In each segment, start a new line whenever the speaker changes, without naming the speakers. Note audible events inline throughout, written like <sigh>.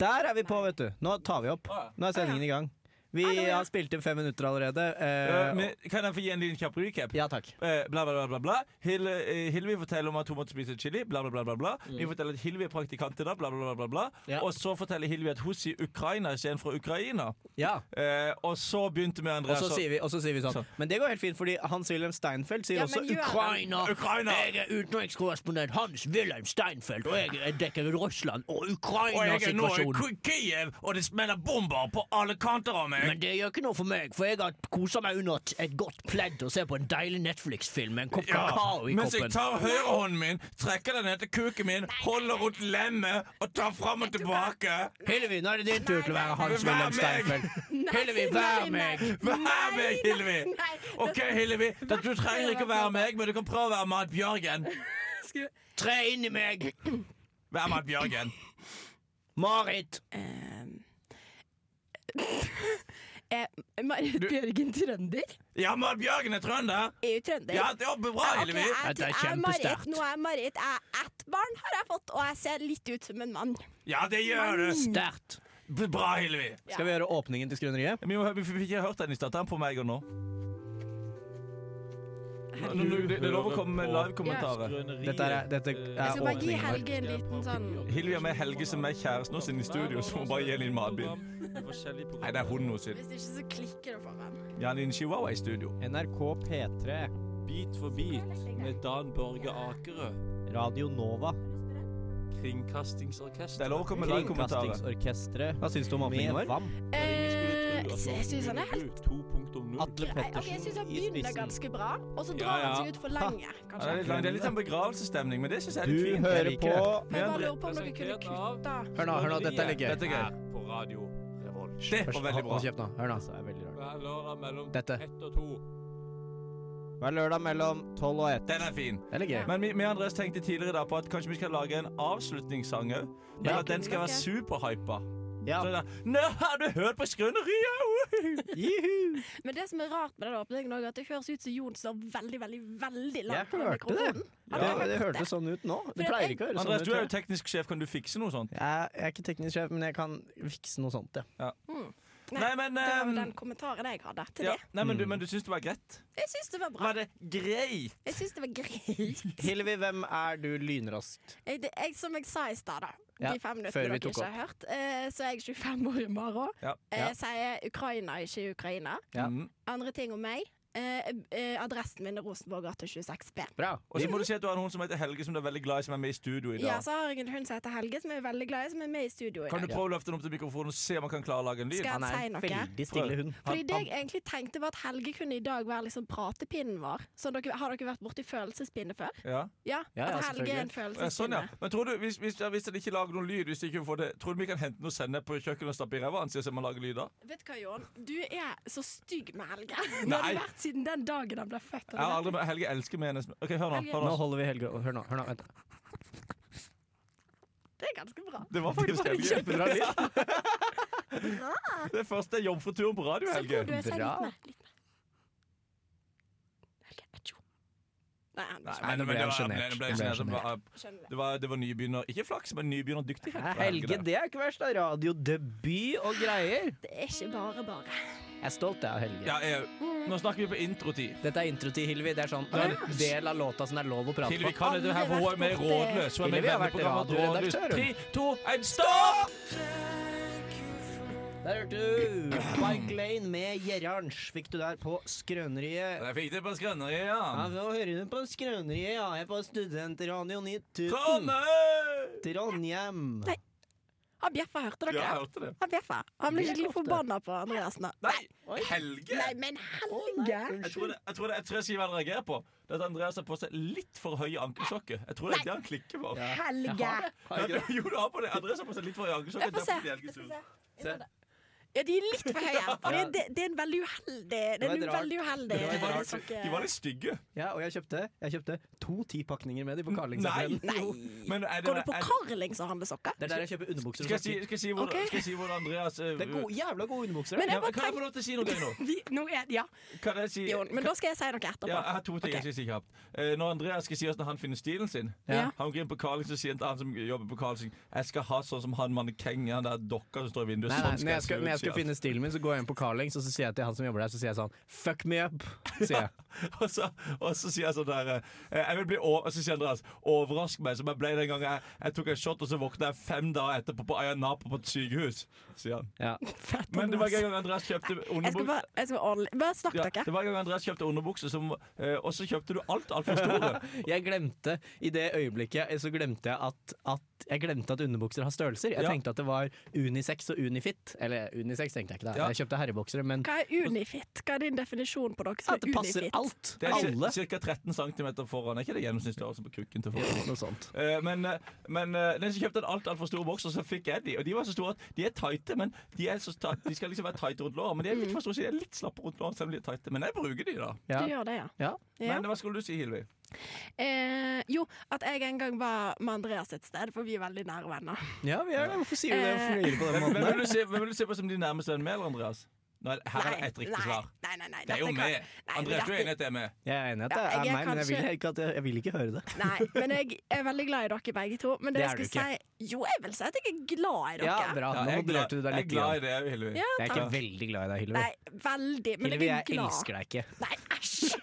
Der er vi på, vet du. Nå tar vi opp. Nå er sendingen i gang. Vi
Hallo, ja.
har spilt inn fem minutter allerede.
Eh,
Eh,
men kan jeg få gi en liten kjapp recap?
ja takk.
Eh, Bla, bla, bla, bla, bla. Hille, eh, Hillevi forteller om at hun måtte spise chili. Bla, bla, bla, bla, bla. Vi forteller at Hillevi er praktikant i dag. Bla, bla, bla, bla, bla.
Mm. Ja.
Og så forteller Hillevi at hun sier Ukraina istedenfor Ukraina.
Ja.
Eh, og så begynte vi andre
Og så sier vi, og så sier vi sånn. Men det går helt fint, fordi Hans-Wilhelm Steinfeld sier
Ja,
også
men gjør han-
Ukraina.
Ukraina!
Jeg er utenrikskorrespondent Hans-Wilhelm Steinfeld, og jeg dekker Russland og
Og jeg er nå i Ki-
Ukraina-situasjonen.
Kiev, og det smeller bomber på alle kanter av meg.
Men det gjør ikke noe for meg, for jeg har kosa meg under et- et godt pledd og ser på en deilig Netflix-film med en kopp
Ja,
kakao i
mens jeg
koppen.
tar høyrehånden min, trekker den ned til kuken min, holder rundt lemmet og tar fram og tilbake.
Hillevi, nå er det din tur til å være
Vær
Hans-Wilhelm
meg!
Steinfeld. Hillevi, vær meg!
Vær meg, Hillevi!
Nei,
OK, Hillevi, da- du trenger ikke å være meg, men du kan prøve å være Marit Bjørgen.
Skulle-
Tre inn i meg!
Vær Marit Bjørgen.
Marit!
Eh, Marit Bjørgen Trønder?
Ja, Marit Bjørgen er trønder.
Er jo trønder.
Ja, det var bra,
Ok,
Hillevi.
jeg-
Dette er
jeg Marit,
kjempesterkt.
nå er jeg Marit. Jeg er ett barn, har jeg fått, og jeg ser litt ut som en mann.
Ja, det gjør du.
Sterkt.
B- Bra, Hillevi.
Skal vi gjøre åpningen til Skrøneriet?
Vi, må, vi fikk ikke hørt den i stad. Ta den på meg og nå. Det er lov å komme med live-kommentarer.
Dette er, dette
Eh,
Jeg
er
skal bare gi
åpningen.
Helge en liten sånn
Hillevi har med Helge som er kjæresten hos sin i studio, så hun bare gir henne en matbit. Nei, det er hunden hos sin.
Hvis ikke, så klikker det for meg.
Ja, det er en chihuahua i studio.
NRK P3 Bit for bit med Dan Børge Akerø.
Radio Nova.
Det
Kringkastingsorkester.
er lov å komme med live-kommentarer.
Kringkastingsorkestret
Hva syns du om åpningen vår?
Eh, jeg syns han er helt
Atle
grei. Ok, jeg syns han begynner ganske bra, og så
Ja,
drar
ja.
han seg ut for
Ja,
lenge,
det, er litt,
kanskje.
lang- det er litt sånn begravelsesstemning, men det syns jeg er
Du
litt fint.
hører
Jeg liker
på
det.
Men jeg bare
Andre-
lurer på om dere kunne kutta
Hør nå, hør nå, dette er litt gøy.
Dette er gøy.
På radio Revolt.
Det var veldig bra.
Hold kjeft nå. Hør nå.
Hver lørdag mellom
Dette.
ett og to.
Hver lørdag mellom tolv og ett.
Den er fin.
Det er litt gøy.
Men vi, vi Andres tenkte tidligere da på at kanskje vi skal lage en avslutningssang òg. Men
Ja.
at den skal være superhypa.
Ja.
Sånn der, Nå har du hørt på Skrøneriet! Woohoo!»
Juhu!
Men det som er rart med den åpningen, er at det høres ut som Jon står veldig, veldig veldig
Jeg
langt fra
hørte det.
mikrofonen.
Ja, det, det hørtes sånn ut nå. Det
For
pleier
jeg-
ikke å høres sånn
Andres,
ut.
du er jo
tror Jeg.
teknisk sjef. Kan du fikse noe sånt?
Jeg er ikke teknisk sjef, men jeg kan fikse noe sånt, ja.
Nei,
Nei, men,
Eh,
Det var jo
ehm,
den kommentaren jeg hadde til
Ja.
det.
Nei, men, du, men du syns det var greit?
Jeg syns det var bra.
Var det greit?
Jeg syns det var
<laughs>
greit.
Hillevi, hvem er du lynraskt?
Jeg, det, jeg, som jeg sa i stad, da.
Ja,
de fem
før vi
minuttene dere
tok
ikke har hørt. eh, så er jeg 25 år i morgen.
Ja.
Eh,
Ja.
sier Ukraina, ikke Ukraina.
Ja.
Mm.
Andre ting om meg. eh, eh, adressen min er Rosenborg gate 26B.
Bra.
Og så må du si at du har noen som heter Helge, som du er veldig glad i, som er med i studio i
Ja,
dag.
så har jeg en hund som heter Helge, som jeg er veldig glad i, som er med i studio i
Kan du
dag.
prøve å løfte den opp til mikrofonen og se om man kan klare å lage en lyd?
Skal jeg-
Han er en
Si noe.
veldig stille hund.
Fordi det jeg egentlig tenkte var at Helge kunne i dag være liksom pratepinnen vår. Så dere, har dere vært borti følelsespinne før?
Ja.
Ja,
Ja, ja,
at Helge er en
Ja, sånn,
følelsespinne.
ja. Men tror du, hvis, hvis, ja, hvis den ikke lager noen lyd, hvis de ikke får det, tror du vi kan hente noe sennep på kjøkkenet og stappe i ræva hans så man lager lyder?
Vet du hva, Jon? Du er så stygg med Helge. <laughs> Det
Nei.
har du vært siden den dagen han ble født.
Jeg har aldri med Helge elsker med hennes OK, hør nå.
Helge-
Hør
Nå
nå.
holder vi Helge Hør nå. hør nå, vent.
Det er ganske bra.
Det var faktisk Helge.
Kjempebra lyd.
Det er første jomfruturen på radio,
Så
Helge.
hvor du er seg
Bra.
litt mer. Litt mer. Helge, atsjo. Nei, han
Nei,
skjønner.
men,
nå ble
men det
jeg
var-
sjenert.
det ble-
Nå ble jeg
det var-
skjønner det.
Det var, det var nybegynner Ikke flaks, men nybegynnerdyktighet.
Hæ,
fra
Helge,
der.
det er ikke verst. da. Radiodebut og greier.
Det er ikke bare bare.
Jeg er stolt jeg, av Helge.
Ja, jeg, nå snakker vi på introtid.
Dette er intro til Hillevi. Det er sånn en del av låta som det er lov å prate
Hillevi
på.
kan dette her, for hun er med i Rådløs. Hun er med i
Hillevi har vært
venneprogrammet Rådløs.
radioredaktør, hun.
Tre, to, én, stopp!
Der hørte du Bike Lane med Gerhards. Fikk du der på Skrøneriet.
Jeg fikk det på Skrøneriet, ja.
nå hører du på Skrøneriet. Ja, jeg er på Studentradio 9000.
Sånn, Trondheim!
Trondhjem.
Nei. Han bjeffa, hørte
eh! Ja,
dere?
jeg hørte det.
Han bjeffa. Han ble
Det er
skikkelig
ofte.
forbanna på Andreas nå.
Nei, Helge!
Nei, men Helge!
Jeg tror det, jeg tror det, jeg tror jeg sier hva han reagerer på. Det er at Andreas har på seg litt for høye ankelsokker. Jeg tror det er det han klikker på.
Helge!
Ja, jo, du har på det. Andreas har på seg litt for høye ankelsokker.
Jeg får se.
derfor blir Helge sur.
Jeg får se. Ja, de er litt for høye. For det, det, det er en veldig uheldig Det
var
er
et
en
rart-
veldig uheldig eh,
det var et rart-
sak.
De var litt stygge.
Ja, og jeg kjøpte, jeg kjøpte to tipakninger med de på
Nei!
Carlingsappellen.
jo. Men er det,
Går du på
er,
Carlings og handler sokker?
Det er der jeg kjøper underbukser.
skal, jeg si,
og sokker.
skal, jeg si hvor,
Ok.
skal jeg si hvor Andreas eh,
Det er gode, jævla gode underbukser.
Men
da.
ja,
jeg bare
Kan jeg få
tenker
lov til å si noe nå?
vi, nå er, Ja,
Kan jeg si
Jon. Men da skal jeg si noe etterpå.
ja, Jeg har to ting jeg
Ok.
skal si kjapt. Eh, Når Andreas skal si oss når han finner stilen sin
Ja.
Han går inn på Carlings og sier til han som jobber på Carlings Jeg skal ha sånn som han mannekeng, han der dokka som står i vinduet.
Nei, nei,
sånn
når jeg skal,
se ut»,
når jeg skal
sier han.
finne stilen min, så går jeg inn på Carlings og så sier jeg til han som jobber der, så sier jeg sånn Fuck me up! Sier jeg.
<laughs> og, så, og så sier jeg sånn der eh, Jeg vil bli over, og så sier Andreas Overrask meg som jeg ble den gangen jeg, jeg tok en shot og så våkna jeg fem dager etterpå på Ayanapa på et sykehus Sier han
Ja.
Fett,
Men det var
Andreas.
en gang Andreas kjøpte
Jeg skal
underbukser
bare, jeg skal ordne, bare snakk
ja,
dere.
Det var en gang Andreas kjøpte underbukser som, eh, Og så kjøpte du alt, alt for
<laughs>
store
Jeg glemte i det øyeblikket eh, Så glemte jeg at, at Jeg glemte at underbukser har størrelser. Jeg
Ja.
tenkte at det var unisex og unifit. Eller unisex tenkte jeg ikke, da.
Ja.
Jeg kjøpte herreboksere, men
Hva er unifit? Hva er din definisjon på dere som
at
er
det passer
unifit?
alt.
Det
Alle.
er ca. 13 cm foran Er ikke det gjennomsnittsstørrelse på kukken til folk?
Noe sånt.
Eh, Men, eh, men eh, den som kjøpte en alt, alt for stor boks, og så fikk jeg de. Og de var så store at de er tighte, men de, er så ta- de skal liksom være tighte rundt låret. Men de
Mm.
er litt for store, så de er litt slappe rundt låret, selv om de er tighte. Men jeg bruker de, da.
Ja.
Du gjør det, ja.
Ja.
ja.
Men hva skulle du si, Hilvi?
Eh, jo, at jeg en gang var med Andreas et sted, for vi er veldig nære venner.
ja, vi er, hvorfor sier du det? Hvorfor flirer du på den
Hvem,
måten?
hvem,
der?
vil du se, hvem vil du se på som din nærmeste venn med, eller Andreas? Nå er, her er det ett riktig
nei,
svar.
Nei, nei, nei.
Det er jo
dette kan-
med.
men
Andreas, du er
dette-
enig i at det er med?
Jeg er enig i at det
Ja,
er
jeg er
meg, men jeg vil
kanskje-
ikke, at jeg, jeg vil ikke høre det.
<laughs> Nei, men jeg er veldig glad i dere begge to. Men det,
Det er
jeg
du
skulle si Jo, jeg vil si at jeg er glad i dere.
Ja, bra.
Ja,
Nå
jeg, er glad,
modererte du deg
jeg er
litt.
glad
grann.
i det, Hilvi.
Ja,
Jeg er ikke
takk.
veldig glad i deg, Hilvi.
Nei, veldig. Men
Hilvi,
jeg er
jeg
glad.
elsker deg ikke.
Nei, æsj!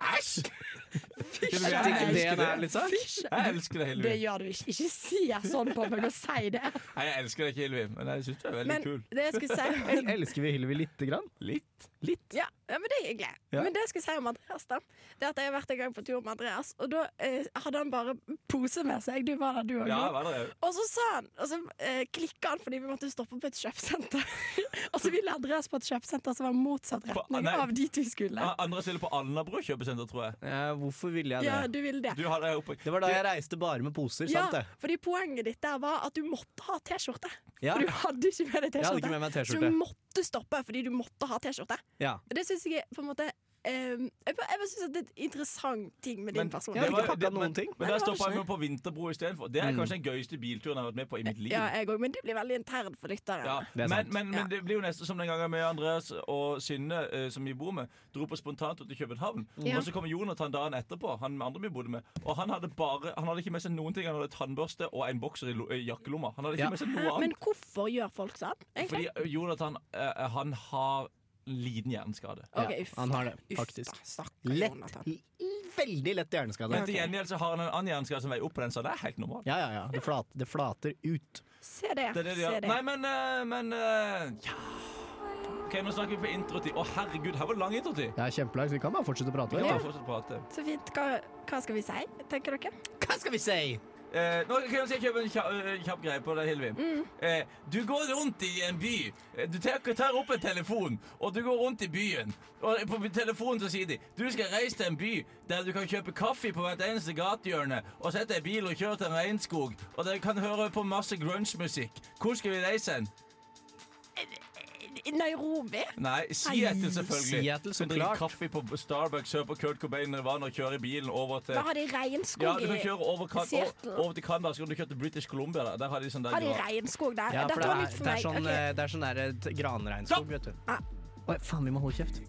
Æsj! Hilvi,
Er det ikke det
Jeg elsker
det
det.
er, liksom?
Jeg elsker deg,
Det
Hilvi.
gjør du ikke. Ikke si sånn på meg og si det.
Nei, jeg elsker deg ikke, Hilvi, men jeg syns du er veldig
Men
kul.
det jeg skulle si
<laughs> El- Elsker vi Hylvi lite grann?
Litt.
Litt.
ja, ja, men det er hyggelig.
Ja.
Men det jeg skulle si om Andreas, da, det er at jeg har vært en gang på tur med Andreas, og da eh, hadde han bare pose med seg. Du var der, du òg.
Ja, hva er det?
Og så sa han Og så eh, klikka han fordi vi måtte stoppe på et kjøpesenter. <laughs> og så ville Andreas på et kjøpesenter som var motsatt
På-
retning
nei.
av dit vi skulle.
Ah,
Ja, Andre stiller på Alnabru kjøpesenter, tror jeg.
Ja, hvorfor ville jeg det?
Ja, du ville det.
Du har det oppe.
Det var da jeg reiste bare med poser,
ja,
sant det?
fordi poenget ditt der var at du måtte ha T-skjorte.
Ja.
For du hadde ikke med deg
Jeg hadde ikke
T-skjorte.
med meg
Så
T-skjorte.
du måtte stoppe fordi du måtte ha T-skjorte.
Ja.
Og Det syns jeg er på en måte eh, Jeg bare, jeg bare syns at det er en interessant ting med
Men-
din person.
Jeg hadde
Det var-
ikke pakka
det-
noen ting.
Men der
Nei, det var
stoppa jeg
ikke
meg på Vinterbro istedenfor. Det er
Mm.
kanskje den gøyeste bilturen jeg har vært med på i mitt liv.
Ja, jeg òg, men det blir veldig internt for lytteren.
Ja,
Det er
men,
sant.
men, men
Ja.
det blir jo nesten som den gangen med Andreas og Synne, eh, som vi bor med, dro på spontantur til København.
Ja.
Og så kom Jonathan dagen etterpå, han med andre vi bodde med. Og han hadde bare Han hadde ikke med seg noen ting. Han hadde tannbørste og en bokser i, lo- i jakkelomma. Han hadde ikke
Ja.
med seg
Hæ?
noe
Men <laughs>
annet.
hvorfor gjør folk sånn? Egentlig?
Fordi eh, Jonathan eh, han har liten hjerneskade.
Ok,
Ja,
uff
han har det,
Uff da,
faktisk.
Stakkar
Lett,
Jonathan.
l- veldig lett hjerneskade.
Men til gjengjeld så har han en annen hjerneskade som veier opp på den, så det er helt normalt.
Ja, ja, ja. Det, flat, det flater ut.
Se det.
Det er det de
se
gjør.
det.
Nei, men, eh, men eh, ja. Ok, Nå snakker vi på introtid. Å, herregud, her var det lang introtid!
Det er kjempelangt, så vi kan bare fortsette å prate.
Vi kan
vet
bare fortsette å prate.
Så fint. Hva, hva skal vi si, tenker dere?
du. Hva skal vi si?
Eh, nå kan jeg si- kjøpe en kjapp, kjapp greie på deg, Hilvi.
Mm.
Eh, du går rundt i en by. Eh, Du tar, tar opp en telefon, og du går rundt i byen. Og på telefonen så sier de du skal reise til en by der du kan kjøpe kaffe på hvert eneste gatehjørne, og sette deg i bil og kjøre til en regnskog, og dere kan høre på masse grunge-musikk. Hvor skal vi reise hen?
I Nairobi?
Nei, Seattle, selvfølgelig.
Seattle, så
Du drikker
klart.
kaffe på Starbucks, hører på Kurt Cobain Nirvana og kjører bilen over til
Da har de regnskog
ja, du kan
i-
kjøre over, kan,
Seattle.
over, over til Canada, så kan du kjøre til British Columbia. Der, der har de sånn der
Har de
gra-
regnskog der?
Ja, for
Dette
det
var
er,
nytt for
det er
meg.
sånn,
Ok.
eh, det er sånn der, eh, t-
Stopp!
granregnskog, vet du.
Ah.
Oi, faen, vi må holde kjeft.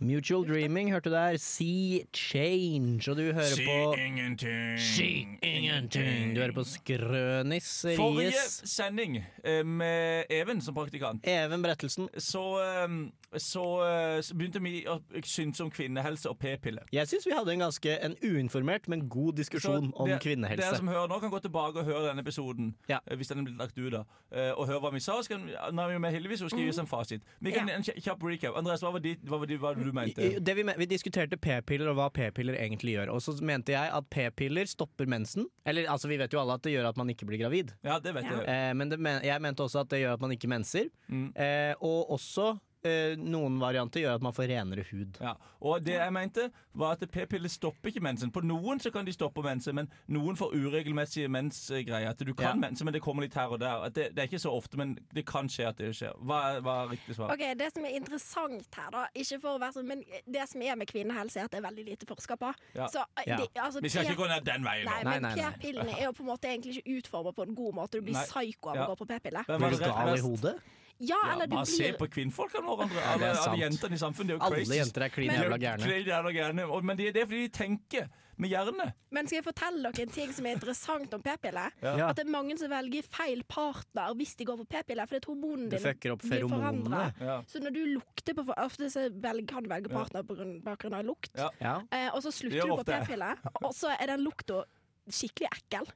Mutual Dreaming hørte du der. See Change. Og du hører på
ingenting.
Si ingenting.
Du hører på Skrønis
Forrige
Ries.
sending eh, med Even som praktikant,
Even Brettelsen.
så, eh, så, eh, så begynte vi å synes om kvinnehelse og p-piller.
Jeg syns vi hadde en ganske en uinformert, men god diskusjon
Så
om
det- Dere
kvinnehelse.
som hører nå, kan gå tilbake og høre denne episoden.
Ja.
eh, Hvis den er blitt lagt ut, da. Eh, Og høre hva vi sa. Så kan, nå er vi jo med Hillevi, så hun skal
Mm.
gi oss en fasit. Vi kan
Ja.
En kj- kjapp recap. Andreas, hva var, ditt- hva var, det- hva var det du
I-
mente?
Det vi, men- vi diskuterte p-piller og hva p-piller egentlig gjør. Og så mente jeg at p-piller stopper mensen. Eller altså, vi vet jo alle at det gjør at man ikke blir gravid.
Ja, det vet
Ja.
jeg.
Eh, men det, men jeg mente også at det gjør at man ikke menser.
Mm.
Eh, og også eh, noen varianter gjør at man får renere hud.
Ja. Og det jeg mente, var at p-piller stopper ikke mensen. På noen så kan de stoppe mensen, men noen får uregelmessige mensgreier. At du kan
Ja.
mensen, men det kommer litt her og der. At det, det er ikke så ofte, men det kan skje at det skjer. Hva er, hva er riktig svar?
Ok, Det som er interessant her, da Ikke for å være sånn, men det som er med kvinnehelse, er at det er veldig lite forska på.
Ja.
Så, eh,
Ja.
det, altså,
Vi skal
P-
ikke gå ned den veien.
Nei,
nå.
Nei,
men
nei, nei.
p-pillene er jo på en måte egentlig ikke utforma på en god måte. Du blir
Nei.
psyko av
Ja.
å gå på p-pille.
Hvem var
Blir
det
du gal i
rett best?
hodet?
Ja,
Ja,
eller du
bare se
blir
på kvinnfolkene våre. Alle,
det er
alle
sant.
jentene i samfunnet. Det er jo
Alle
crazy.
jenter er klin
Men-
jævla gærne.
Klin jævla gærne. Og- Men det er det er fordi de tenker med hjernen.
Men skal jeg fortelle dere en ting som er interessant om p-piller?
Ja.
At det er mange som velger feil partner hvis de går på p-piller, fordi at hormonene
Det
dine
fucker opp
blir forandra.
feromonene.
Ja.
Så når du lukter på for ofte, så velger, kan du velge partner på grunn- bakgrunn av lukt.
Ja.
Ja.
Eh, og så
Det gjør
slutter du på
ofte jeg.
p-piller, og så er den lukta skikkelig ekkel.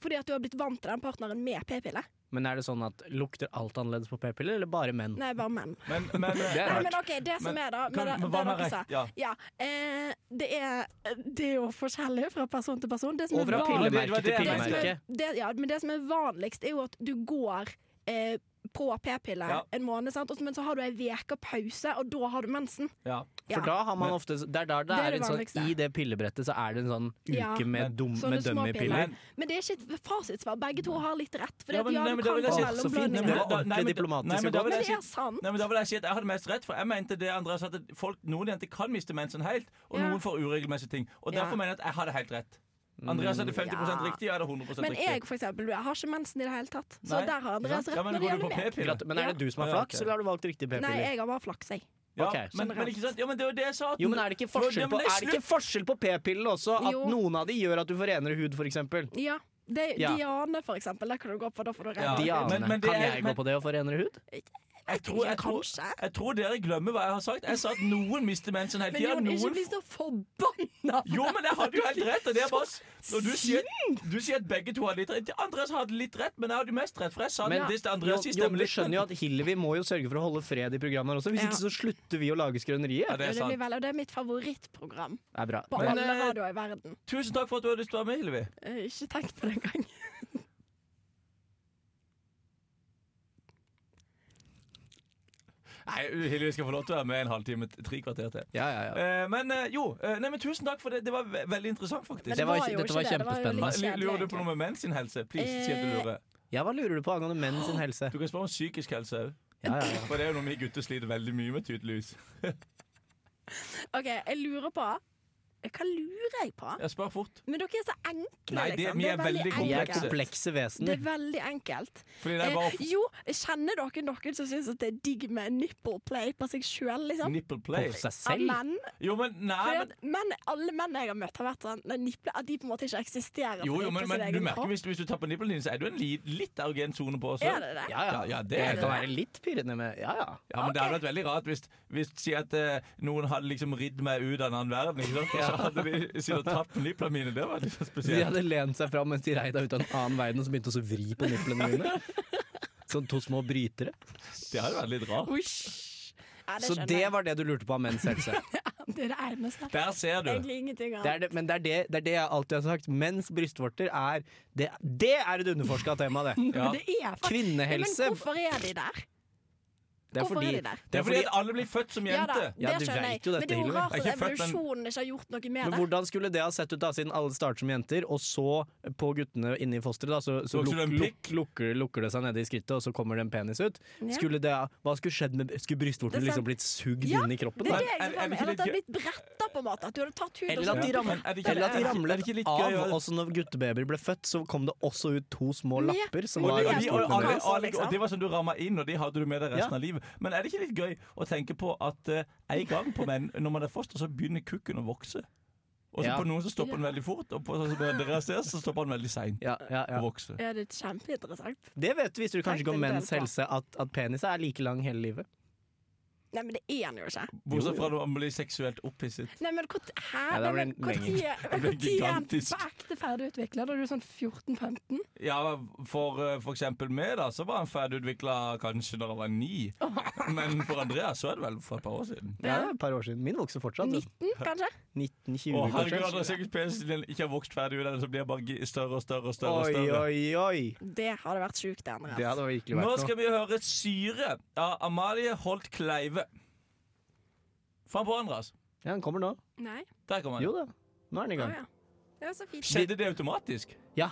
Fordi at du har blitt vant til den partneren med p-piller.
Men er det sånn at lukter alt annerledes på p-piller, eller bare menn?
Nei, bare menn.
Men, men,
Det er
Nei,
rart.
men OK, det som
Men
er, da
kan,
med det-
men
det
hva med
dere sa.
rett? Ja.
Ja, eh, det, er, det er jo forskjellig fra person til person. Det som
Og
er
fra
vanlig-
pille- det var
pillemerke
det
til
jeg
det som
pillemerke.
er, det, ja, men det som er vanligst, er jo at du går eh, på p-pille
Ja.
en måned, sant? Og så- men så har du ei uke pause, og da har du mensen.
Ja.
Ja.
For da har man ofte Det er da det
Det er
er
det
en sånn
vanligste.
I det pillebrettet så er det en sånn
Ja.
uke med, dum,
Sånne
med
små
dummy-piller.
piller.
Men,
Men det er ikke et fasitsvar. Begge to har litt rett. For
Ja,
ja,
men-
ja,
nei,
du
men da vil
kan
jeg
få
si-
Å, så fint.
mellomblødninger.
Det
Nei,
var
men da- nei,
ordentlig
men da- nei,
diplomatisk
men
og
da vil
godt.
Men
jeg
det
si-
er sant.
Nei, men da vil jeg si at Jeg hadde mest rett, for jeg mente det Andreas at folk, noen jenter kan miste mensen helt, og
Ja.
noen får uregelmessige ting. Og
Ja.
Derfor mener jeg at jeg hadde helt rett. Andreas
Mm.
hadde 50
Ja.
riktig, jeg hadde 100
Men jeg
riktig.
for eksempel, jeg har ikke mensen i det hele tatt. Så
Nei.
der har Andreas rett
ja, men
når det
går du på
gjelder meg.
Til
p-piller?
at- Men er det du som har
Ja,
flaks,
ok.
eller har du valgt riktige
Nei,
p-piller?
jeg har bare flaks, jeg.
Ja,
Ok,
men, men ikke sant? Ja, men det var det jeg sa. at-
Jo, men er det ikke
For-
forskjell
Ja, men
på,
det er
er det ikke forskjell på p-pillene også? At
Jo.
noen av de gjør at du får renere hud, f.eks.?
Ja. Det,
Ja.
Diane, for eksempel. Der kan du gå på, da får du rett.
Ja.
Diane,
Men- men det
kan
er-
jeg
men-
gå på det og få renere hud?
jeg, tror, jeg, tror,
Kanskje.
jeg tror dere glemmer hva jeg har sagt. Jeg sa at noen mister mensen hele
Men
tida.
Jon, ikke bli
Noen...
så forbanna!
Jo, men jeg hadde jo helt rett. Og det er bare
<laughs>
s- Når du sier, du sier at begge to hadde litt rett. Andreas hadde litt rett, men jeg hadde mest rett. For jeg sa
Men-
det til
Jo,
Andreas i
jo, men du
stemmen.
skjønner jo at Hillevi må jo sørge for å holde fred i programmet her også, hvis
Ja.
ikke så slutter vi å lage
Ja,
Skrøneriet.
det
Det,
er
det, blir
sant.
vel, og det er mitt favorittprogram
Det er bra.
på
Men,
alle
eh,
radioer i verden.
Tusen takk for at du hadde lyst til å være med, Hillevi.
Eh, ikke tenk på det engang.
Nei, Hillevi skal få lov til å være med en halvtime, tre kvarter til.
Ja, ja, ja.
Eh, men eh, jo, eh, nei, men tusen takk for det. Det var ve veldig interessant,
Men
faktisk.
det var ikke-
jo
dette var
det, det jo
kjempespennende.
Hva-
litt
lu-
kjedelig,
Lurer du på
egentlig.
noe med menn sin helse? Please, si at du
Eh,
lurer.
ja, hva lurer du på angående menn sin helse?
Du kan spørre om psykisk helse òg.
Ja, ja, ja.
For det er jo noe vi gutter sliter veldig mye med, tydeligvis.
OK, jeg lurer på Hva lurer jeg på?
Jeg spør fort.
Men dere er så enkle,
Nei, det-
liksom.
vi
Det
er veldig
Vi er
enkelt.
komplekse
Det er
vesener.
veldig enkelt.
Fordi det er
Eh,
bare
jo, kjenner dere noen som syns det er digg med nipple play på seg sjøl, liksom?
nipple
På
play.
seg
Av
selv?
menn?
Jo, men nei,
Fordi
men
at menn, alle menn jeg har møtt, har vært sånn Nei, nipple, at de på en måte ikke eksisterer.
jo,
fordi
jo, men,
på sin
men du
egen
merker
kropp.
hvis, hvis du tar på nipplene dine, så er du en li, litt erogen sone på også.
Er det det?
Ja, ja.
Ja, ja, det
det
er
kan
det.
være litt pirrende med Ja, ja.
Ja, men Det hadde vært veldig rart hvis, hvis si at eh, noen hadde liksom ridd meg ut av en annen verden. Ikke sant? Og så hadde de sittet og tatt på nipplene mine. Det var litt så
De
spesielt.
hadde lent seg fram mens de rei deg ut av en annen verden, og så begynte de å vri på niplene mine. Sånn to små brytere.
Det hadde vært litt rart.
Uish. Ja, det
Så
skjønner
det
jeg.
var det du lurte på av menns helse.
Det er det eneste.
Der ser du.
Egentlig ingenting
Det er
annet.
det, men det er det, det er det jeg alltid har sagt. Menns brystvorter er Det, det er et underforska tema, det.
Ja.
Men det er faktisk
Kvinnehelse
Men hvorfor er de der?
det er
hvorfor er
fordi,
de der?
Det er fordi at alle blir født som
Ja da,
jente.
Ja, du
det skjønner jeg.
vet jo
Men
dette,
det er jo
Hilde.
rart
Jeg er
at
ikke født, men-
evolusjonen ikke har gjort noe med
men
det.
hvordan skulle det ha sett ut, da, siden alle starter som jenter, og så på guttene inni fosteret, da, så, så
Vokser
luk,
det en
luk, lukker, lukker det seg nede i skrittet, og så kommer det en penis ut?
Ja.
Skulle det, ha- hva skulle skjedd med Skulle brystvorten
Det er sant.
liksom blitt sugd
Ja,
inn i kroppen?
Det
da?
er det
Er- er
jeg ser
det
for
ikke
meg. Eller at det har
litt
blitt bretta, på en måte. At du hadde tatt hud og
Eller at de
sånn.
ramler,
Er det ikke-
eller at
er
de
det-
ramler
er det ikke litt gøy
av.
å-
Også når guttebabyer ble født, så kom det også ut to små
Ja.
lapper. Som
Og
var
det er
Og, de, og,
brystvortene
jo-
og,
deres.
og, og det var som du ramma inn, og de hadde du med deg resten
Ja.
av livet. Men er det ikke litt gøy å tenke på at eh, en gang på menn, når man er foster, så begynner kukken å vokse? Og så
Ja.
på noen så stopper den veldig fort, og på sånn som dere ser, så stopper den veldig seint
Ja, ja, ja.
å vokse.
Ja, det er kjempeinteressant.
Det vet du, visste du kanskje
Tenk
ikke om
en del
menns
på.
helse, at, at penis er like lang hele livet.
Nei, men det er han jo ikke.
Bortsett fra når man blir seksuelt opphisset.
Nei, men hvor, hæ?
Nei, da
Nei,
blir
men
den
hvor
lenge.
tid er
Det blir
han på
gigantisk.
ekte ferdigutvikla? Da er du sånn 14-15?
Ja, for, eh, for eksempel meg, da, så var han ferdigutvikla kanskje når jeg var ni. Men for Andreas så er det vel for et par år siden.
Ja, det er et par år siden. Min vokser fortsatt.
19, kanskje?
1920,
Å, herregud, altså.
kanskje.
Andreas Jørgens penisen din ikke har vokst ferdig ut av det, så blir jeg bare gi- større og større og større. og
Oi,
større.
oi, oi!
Det hadde vært sjukt, det,
Det
Andreas.
hadde virkelig vært
Nå
noe.
skal vi høre Syre av Amalie Holt Kleive. Fram på Andreas.
Ja, den kommer nå.
Nei.
Der kommer den.
Jo da, nå er den i
Å
gang.
ja. Det var så fint.
Skjedde det automatisk?
Ja,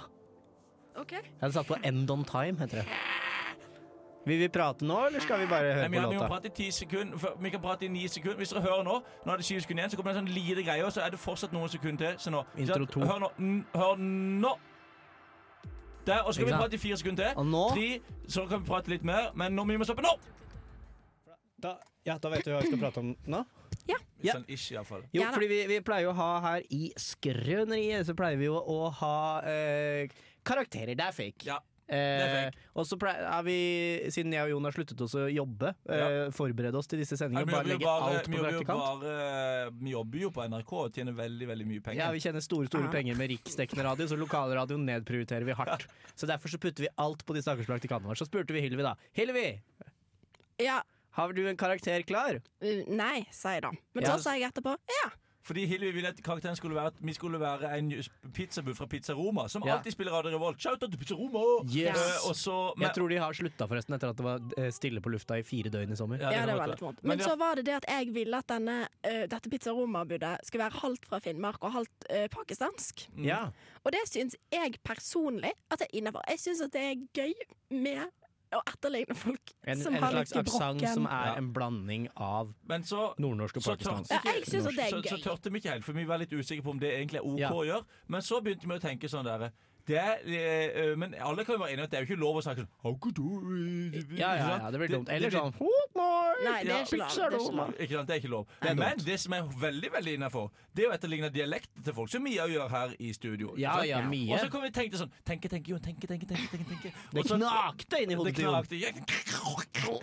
OK.
jeg hadde satt på End on Time, heter det. Vil vi prate nå, eller skal vi bare
Nei,
høre
vi,
på
vi kan
låta?
prate i ti sekunder før- Vi kan prate i ni sekunder. Hvis dere hører nå, nå er det syv sekunder igjen, så kommer det en sånn lite greie, og så er det fortsatt noen sekunder til. Så nå. Ikke sant?
Intro to.
Hør nå. Mm, Hør nå. Der, og så
Ikke
kan vi
sant?
prate i fire sekunder til.
Og nå
Tre, så kan vi prate litt mer, men nå må vi stoppe nå!
da, Ja, da vet du hva vi skal prate om nå. Ja.
Sånn ish, iallfall.
Jo,
Ja da.
fordi vi, vi pleier jo å ha her i Skrøneriet, så pleier vi jo å ha eh, karakterer. Det er fake.
Ja.
Eh,
fake.
og så pleier er vi, siden jeg og Jon har sluttet oss å jobbe, eh, forberede oss til disse
Nei,
sendingene.
vi,
Bare
jobber jo
legge
bare,
alt
vi,
på
jobber jo
braktekant.
bare, eh, vi jobber jo på NRK og tjener veldig veldig mye penger.
Ja, vi tjener store store
Ja.
penger med riksdekkende radio, så lokalradioen nedprioriterer vi hardt. Så derfor så putter vi alt på de stakkars praktikantene våre. Så spurte vi Hylvi, da. Hylvi,
Ja.
har du en karakter klar?
uh, Nei, sa jeg da. Men
Ja.
så sa jeg etterpå ja.
Fordi Hilvi ville at karakteren skulle være at vi skulle være en pizzabud fra Pizza Roma, som
Ja.
alltid spiller Radio Revolt. Shout out til Pizza Roma!
Yes.
Eh, og så, men,
Jeg tror de har slutta, forresten, etter at det var eh, stille på lufta i fire døgn i sommer.
Ja,
Ja, det
var
var
godt.
litt vondt.
Men
Men
det-
så var det det at jeg ville at denne, eh, dette pizzaroma-budet skulle være halvt fra Finnmark og halvt eh, pakistansk.
Ja.
Og det syns jeg personlig at det er innafor. Jeg syns at det er gøy med å etterligne folk
En,
som
en
har
slags
litt
aksent som
brokken.
er
Ja.
en blanding av
men så
nordnorsk og
Så tørte
pakistansk.
Ja, jeg synes at det er
så, så
gøy.
tørte vi ikke helt, for vi var litt usikre på om det egentlig er OK
Ja.
å gjøre. Men så begynte vi å tenke sånn der det er, eh, eh, Men alle kan jo være enige at det er jo ikke lov å snakke sånn «How could you-"
Ja, ja, ja, det blir dumt. Eller sånn «Hot morning,
Nei, det er ikke lov, det er ikke
pizzaroma».
lov.
Ikke sant, Det er ikke lov.
Det er
Men det som er veldig veldig innafor, er å etterligne dialekten til folk, som Mia gjør her i studio. ikke
Ja,
sant?
ja, mye.
Og så kan vi tenke sånn Tenke, tenke, jo, tenke, tenke, tenke, tenke, tenke.
Det
Og så-
knakte inni hodet
Det
til Jon.
knakte. Jeg-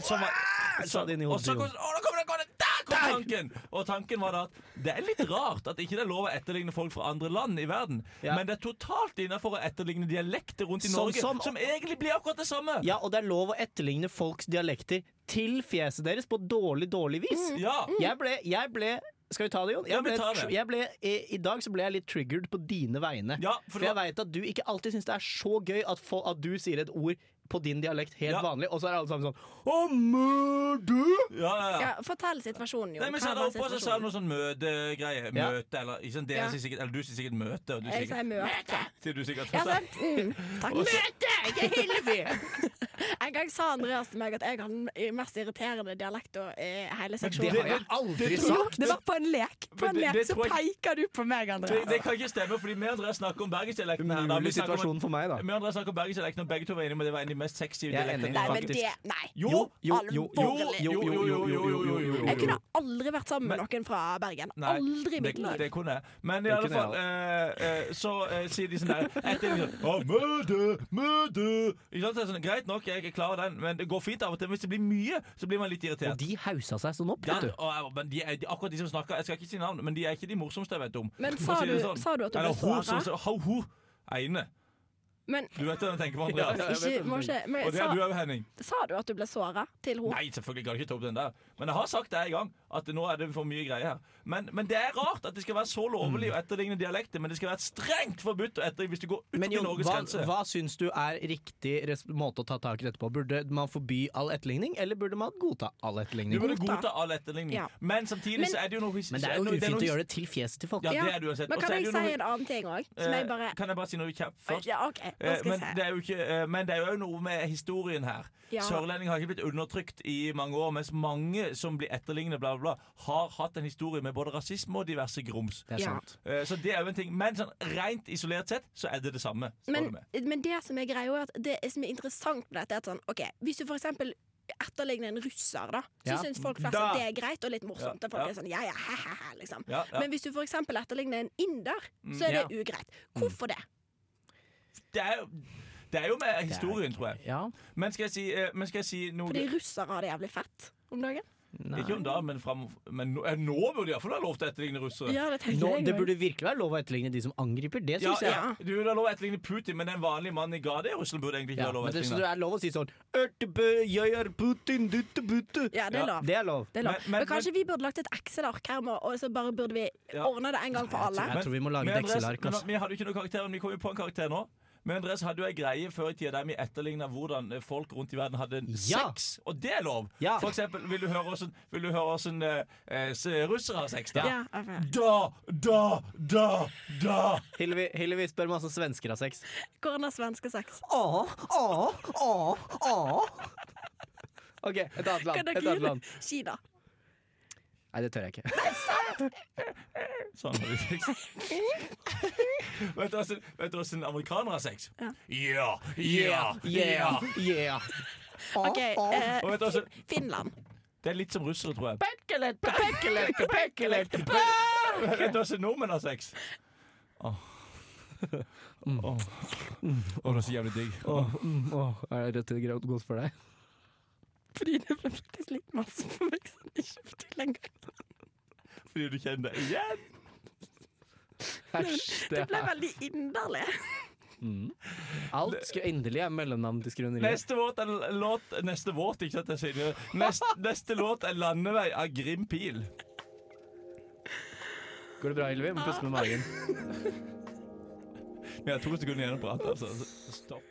Som var- sa det inn i
Og
hodet
så
til
kom,
Jon.
å, nå kommer det, kommer det, der kom tanken! Og tanken var da at det er litt rart at ikke det er lov å etterligne folk fra andre land i verden,
Ja.
men det er totalt innafor å etterligne dialekter rundt i
Sånn
Norge,
som-
som, egentlig blir akkurat det samme.
Ja, og det er lov å etterligne folks dialekter til fjeset deres på dårlig, dårlig vis.
Mm.
Ja.
Jeg ble, jeg ble Skal vi ta det, Jon?
Ja,
Jeg
vi
ble,
tar det.
tr- jeg ble, i, I dag så ble jeg litt triggered på dine vegne.
Ja, for
for
det
jeg
var-
veit at du ikke alltid syns det er så gøy at, fo- at du sier et ord på din dialekt helt
Ja.
vanlig, og så er alle sammen sånn Å, mø, du!
Ja, ja, ja.
Ja, fortell situasjonen,
Nei,
Jon.
men så
Hva
er det
var
oppe, og så sa han
situasjonen?
noe sånn møtegreie.
Ja.
Møte, eller ikke sant, dere
Ja.
sier sikkert, eller du sier sikkert møte, og du
Jeg
sier
sier
sikkert
møte.
Sier du sikkert
Ja, sant? Mm, takk.
Møte! Jeg er Hilvi!
<laughs> En gang sa Andreas til meg at jeg har den mest irriterende dialekten i hele
Det
seksjonen.
har jeg aldri
Jo,
sagt!
det var på en lek. På
Men
en
det-
lek
det
så
tror jeg-
peker du på meg,
Det,
Andreas.
det kan ikke stemme, fordi vi og Andreas snakker om bergensdialekten her. da. Vi
Umulig
snakker om-
situasjon for meg, da.
Vi og Andreas snakker om bergensdialekten, og begge to var enige om at det var en av de mest sexy
Jeg er
dialektene.
enig.
Nei, men
faktisk.
det Nei.
Jo,
jo, jo, jo,
Alvorlig.
jo, jo, jo, jo, jo, jo, jo, jo.
Jeg kunne aldri vært sammen med noen fra Bergen.
Nei,
Aldri i mitt
det,
liv.
det kunne jeg. Men i
Det
alle
kunne
fall, eh, eh, så eh, sier de sånn der etter de sånn, «Å, Møte! Møte! Ikke sant? Så er det Sånn, Greit nok, jeg klarer den, men det går fint av og til. Men hvis det blir mye, så blir man litt
Og
irritert.
de hausa seg sånn opp,
Ja,
vet du.
og, jeg- men de, er- de, akkurat de som snakker, Jeg skal ikke si navn, men de er ikke de morsomste jeg vet om.
Men
For å
sa
si det sånn.
du- sa du at du
Eller
ble
hun
såret?
som- Ho, ho, Eine.
Men
Du vet hva jeg tenker på,
Ja,
Andreas.
jeg vet
ikke,
hva
må
du
ikke men,
Og det er du
<laughs> sa,
òg, Henning.
sa du at du ble såra til henne?
Nei, selvfølgelig kan jeg ikke ta opp den der. Men jeg har sagt det en gang, at nå er det for mye greier her. Men, men det er rart at det skal være så lovlig å etterligne dialekter, men det skal være strengt forbudt å etterligne hvis du går
Men
utenfor
Jon,
Norges
hva,
grense.
hva syns du er riktig res- måte å ta tak i dette på? Burde man forby all etterligning, eller burde man godta all
Du
etterligning?
burde
Godta.
godta all etterligning.
Ja.
Men samtidig
Men-
så er det jo noe
Men det er jo ufint å gjøre det til fjeset til folk.
Ja,
Ja.
det er det uansett.
Men
Og
kan
så er
jeg
det jo
si
noe- eh,
en annen ting òg? Som jeg bare
Kan jeg bare si noe kjapt først?
Ja, OK, nå
Eh,
skal
Men
jeg
det
se.
er jo ikke, eh, men det er jo noe med historien her.
Ja.
Sørlendinger har ikke blitt undertrykt i mange år, mens mange som blir etterlignet, bla, bla, bla, har hatt en historie med både rasisme og diverse grums.
Det er
Ja.
sant.
Eh, Så det er jo en ting. Men sånn, rent isolert sett så er det det samme. spør du
Men,
meg.
men det som er greia, er at det som er interessant med dette, er at sånn OK, hvis du for eksempel etterligner en russer, da, så
Ja.
syns folk flest
Da.
at det er greit og litt morsomt.
Ja,
Og folk
ja.
er sånn ja ja, he-he-he, liksom.
ja, Mm, ja.
Men hvis du for eksempel etterligner en inder, så er det ugreit. Hvorfor
Mm.
det?
det, er, jo- det er jo med historien, tror jeg.
Ja,
Men skal jeg si, eh, men skal jeg si noe
Fordi russere har det jævlig fett om dagen.
nei.
Ikke om da, men, fram, men nå, eh, nå burde jeg iallfall ha lov til å etterligne russere.
Ja, det tenker
Nå,
jeg
det
også.
burde virkelig være lov å etterligne de som angriper. Det
Ja,
syns jeg.
ja. Du vil ha lov å etterligne Putin, men en vanlig mann i gata i Russland burde egentlig ikke
Ja,
ha lov å
men det, så
etterligne.
det er lov å si sånn «Ertebø, Jeg er Putin, dutte, butte.
Ja, det er lov.
Det er lov.
Det er lov.
Men-
Men,
men-
kanskje vi burde lagt et Excel-ark her, med, og så bare burde vi
Ja.
ordne det en gang for alle.
Jeg tror vi må lage
men
et
Andreas,
Excel-ark,
men
altså.
Vi hadde jo ikke noen karakter, men vi kom jo på en karakter nå. Men Andreas hadde jo ei greie før i tida der vi etterligna hvordan eh, folk rundt i verden hadde
Ja.
sex. Og det er lov!
Ja.
For eksempel, vil du høre hvordan, vil du høre hvordan eh, eh, s- russere har sex? Da,
Ja, jeg vet.
da, da, da! da.
Hillevi, Hillevi spør masse svensker har sex.
Hvordan er svenske sex?
OK, et annet
Kan
land. Et
dere
annet
gi
land.
Kina?
Nei, det tør jeg ikke.
Sånn har vi sex. vet du hvordan- vet du hvordan amerikanere har sex?
Ja.
Ja, ja, ja.
yeah.
OK, eh,
Og vet du hvordan
Finland.
Det er litt som russere, tror jeg. Vet <laughs> vet du hvordan nordmenn har sex? Åh. Åh. Åh, det er så jævlig digg.
Mm. Åh, mm, åh, er det rødt eller godt <laughs> for deg?
Fordi det ble faktisk litt masse for meg som ikke forteller lenger.
Fordi du kjenner det <laughs> igjen.
Æsj, det
Det ble
er
veldig inderlig.
Alt skulle endelig er mellomnavn til skrøneriet.
Neste våt er l- låt Neste våt, ikke sant? jeg sier det. <laughs> Nest, neste låt er 'Landevei' av Grim Pil.
Går det bra, Hillevi? Må puste med magen.
Vi har to sekunder igjen å prate, altså. Stopp.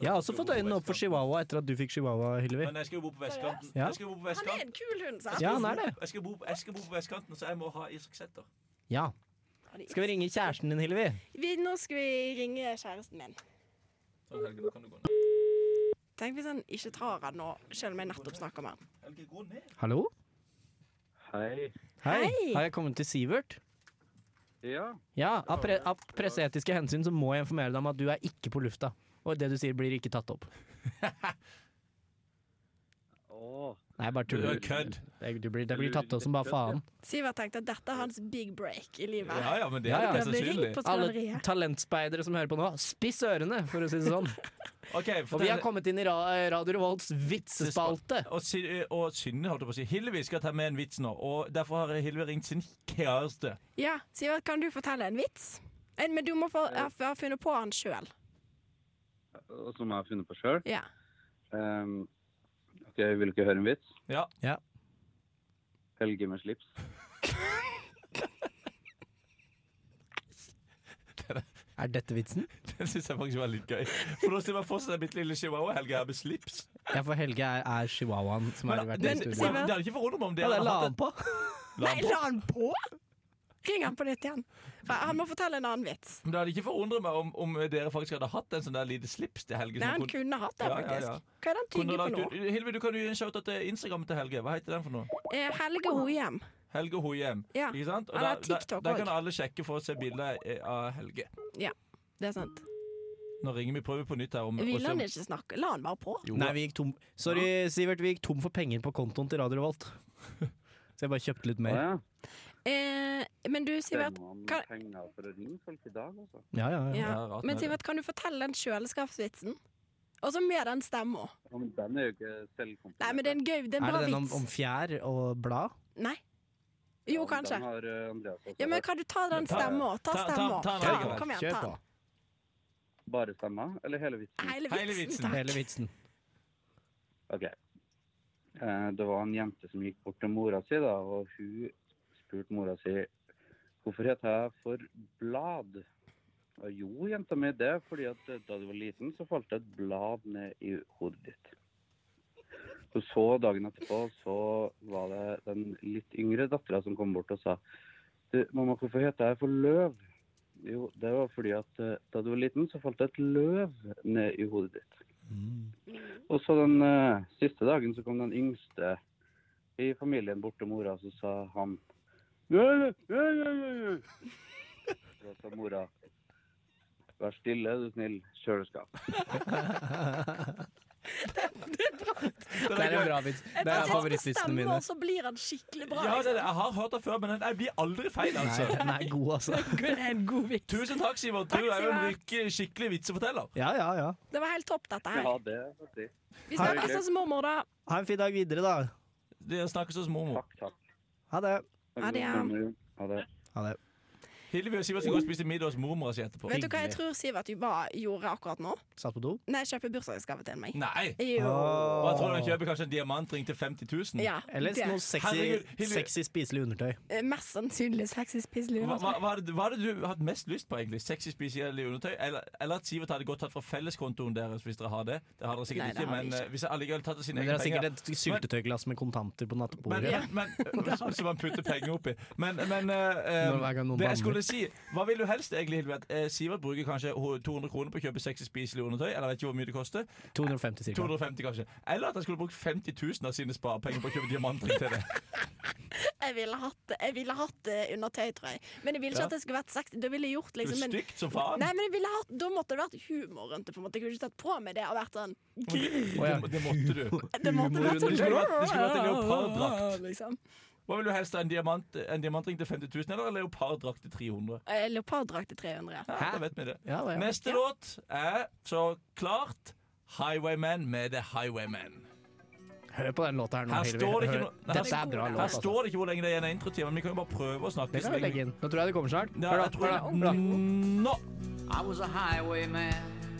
Jeg har også fått øynene opp for
Chihuahua.
chihuahua etter at du fikk chihuahua, Hillevi.
Men jeg skal jo bo på vestkanten.
Ja.
Jeg skal jo bo på
Han er
vestkanten.
en kul hund, sant?
Ja, han er det.
Jeg skal bo, jeg skal bo på vestkanten, så jeg må ha Isak Sæther.
Ja. Skal vi ringe kjæresten din, Hillevi?
Vi, nå skal vi ringe kjæresten min.
Sånn, Helge, nå kan du gå ned.
Tenk hvis han ikke tar han nå, selv om jeg nettopp snakka med han.
Helge, gå ned.
Hallo?
Hei.
Hei.
Hei.
Har jeg kommet til Sivert?
Ja,
Ja, av, pre av presseetiske hensyn så må jeg informere deg om at du er ikke på lufta. Og det du sier, blir ikke
<laughs>
tatt opp.
å,
Nei, bare
Du
tuller.
er kødd.
Det, du blir, det blir tatt opp som bare faen.
Sivert tenkte at dette er hans big break i livet.
Ja, ja, men det
Ja,
er
ja.
det
Han
mest
ble ringt
sannsynlig.
på
Alle
skrøneriet.
talentspeidere som hører på nå, spiss ørene, for å si det
<laughs>
sånn.
Ok,
Og vi
fortell-
har kommet inn i ra Radio Revolts vitsespalte.
Og, Sy- og Synne holdt jeg på å si. Hillevi skal ta med en vits nå, og derfor har Hillevi ringt sin kjæreste.
Ja, Sivert, kan du fortelle en vits? En, men du må få, ha, ha funnet på han sjøl.
som jeg har funnet på sjøl.
Ja.
Um, ok, vil du ikke høre en vits?
<laughs> Ja.
Helge med slips.
Er dette vitsen?
Den syns jeg faktisk var litt gøy. For da ser man for seg den bitte lille chihuahua-helga her med slips.
Ja, for Helge er, er chihuahuaen som har vært i
det, det
studio.
Sivert.
hadde ikke forundret meg
Ja,
om dere
det la
hadde hatt
han på.
en la
Nei,
han på.
la han på! Ring han på nytt igjen. For Han må fortelle en annen vits.
Men Det hadde ikke forundret meg om, om dere faktisk hadde hatt en sånn der lite slips til Helge.
Nei,
som
han
kunne-
kunne hatt
Ja,
det,
ja,
faktisk.
ja.
Hva er det han
kunne
tygger på
lagt
nå?
ut- Hillevi, du kan jo gi en shout-out til Instagram til Helge. Hva heter den for noe?
Eh, Helge Hohjem.
Helge Hohjem.
Ja.
Ikke sant? Og
Han har
der, der,
TikTok
der
også.
kan alle sjekke for å se bilder eh, av Helge.
Det er sant.
Nå ringer vi prøver på nytt her om og
Ville
se om-
han ikke snakke? La han bare på.
Jo,
Nei, vi gikk tom Sorry, Sivert, vi gikk tom for penger på kontoen til Radio Revolt. <laughs> Så jeg bare kjøpte litt
Å
mer.
ja.
Eh, men du,
Det
Sivert,
må man
kan-
penger for å ringe folk i dag, altså.
Ja, ja, ja.
ja.
Ja, rart med
men
det.
Sivert, kan du fortelle den kjøleskapsvitsen? Og så med den stemma.
Ja, men den er jo ikke selvkomponert.
Nei, men det er en gøy, det er en
Er
bra
det den om,
vits.
om fjær og blad?
Nei. Jo,
Ja, men
kanskje.
Den har eh, Andreas også.
Ja, men kan du ta den
Ta-
stemma? Ta
ta- ta-
stemma.
ta den
Ta
likevel.
den, Kom igjen, ta den.
Bare stemma, eller hele vitsen?
Hele vitsen. takk.
Hele vitsen.
Ok. Eh, Det var en jente som gikk bort til mora si, da, og hun spurte mora si hvorfor heter jeg for Blad? Og jo, jenta mi, det er fordi at eh, da du var liten, så falt det et blad ned i hodet ditt. Og så dagen etterpå så var det den litt yngre dattera som kom bort og sa du, mamma, hvorfor heter jeg for Løv? Jo, det var fordi at eh, da du var liten, så falt det et løv ned i hodet ditt. Og så den eh, siste dagen så kom den yngste i familien bort til mora, så sa han «Nei, nei, nei, nei, nei». Da sa mora Vær stille, er du snill. Kjøleskap.
Det er en bra vits. Det er favorittvitsene mine.
Og så blir han skikkelig bra.
Ja, det,
liksom.
jeg har hørt det før, men den- jeg blir aldri feil,
Nei,
altså.
den er god, altså.
<laughs> Det er en god vits.
Tusen takk, Sivert. Du
Takk,
er jo en
Sivert.
rykke- skikkelig vitseforteller.
Ja, ja, ja.
Det var helt topp, dette her.
Ja, det er faktisk.
Vi snakkes hos mormor, da.
Ha en fin dag videre, da.
Det snakkes hos mormor.
Takk, takk.
Ha det.
Ja, det er-
Ha det.
Ha det.
Hillevi og Sivert skal gå og spise middag hos mormora si etterpå.
Vet du hva jeg tror Sivert bare gjorde akkurat nå?
Satt på do?
Nei, kjøpe bursdagsgave til meg.
Nei!
Jo.
Hva tror du han kjøper kanskje en diamantring til 50 000?
Ja,
Eller
det.
noe sexy,
Herregud, Hillevi-
sexy spiselig undertøy.
Eh, Mest sannsynlig sexy spiselig.
Hva, hva, hva, er det, hva er det du har hatt mest lyst på, egentlig? Sexy spesielle undertøy? Eller, eller at Sivert hadde gått tatt fra felleskontoen deres, hvis dere har det? Det har dere sikkert
Nei, det
ikke,
har vi
men
ikke.
eh, hvis jeg allikevel tatt av sine
Men dere
egne
har
penger
sikkert et syltetøyglass med kontanter på
men,
nattbordet.
men,
<laughs>
men, Som man putter penger oppi. Men, men eh,
Når hver gang noen
det jeg
banner.
skulle si Hva vil du helst egentlig, Hilvi? At, eh, Sivert bruker kanskje ho- 200 kroner på å kjøpe sexy spiselig undertøy? Eller vet ikke hvor mye det koster.
250 cirka.
250 kanskje Eller at han skulle brukt 50 000 av sine sparepenger på å kjøpe diamantring til det.
Jeg ville hatt, det- jeg ville hatt det undertøy, tror jeg. Men jeg ville ikke
Ja.
at det skulle vært sexy. Da ville jeg gjort
Det er
<laughs> liksom
jo
en-
stygt som faen.
Nei, men jeg ville hatt, Da måtte det vært humor rundt det. på en måte Jeg kunne ikke tatt på meg det og vært sånn
Det, det måtte du.
Det måtte vært sånn
Det skulle vært- det skulle vært en
<laughs>
leoparddrakt.
Liksom.
Hva vil du helst ha? En, diamant, en diamantring til 50 000 eller en leoparddrakt til 300
Eh, Leoparddrakt til 300.
ja, Da vet vi det.
Ja, ja.
Neste låt er så klart Highwayman med The Highwayman.
Hør på den låta her nå,
Her
Hillevi.
står det ikke
Hør.
noe- Nei, her-
Dette er bra låt.
Her
Altså.
står det ikke hvor lenge det er igjen av introtimen, men vi kan jo bare prøve å snakke.
Det kan vi legge inn. Nå tror jeg det kommer snart. Hør da, hør da, hør da.
Nå!
I was a highwayman.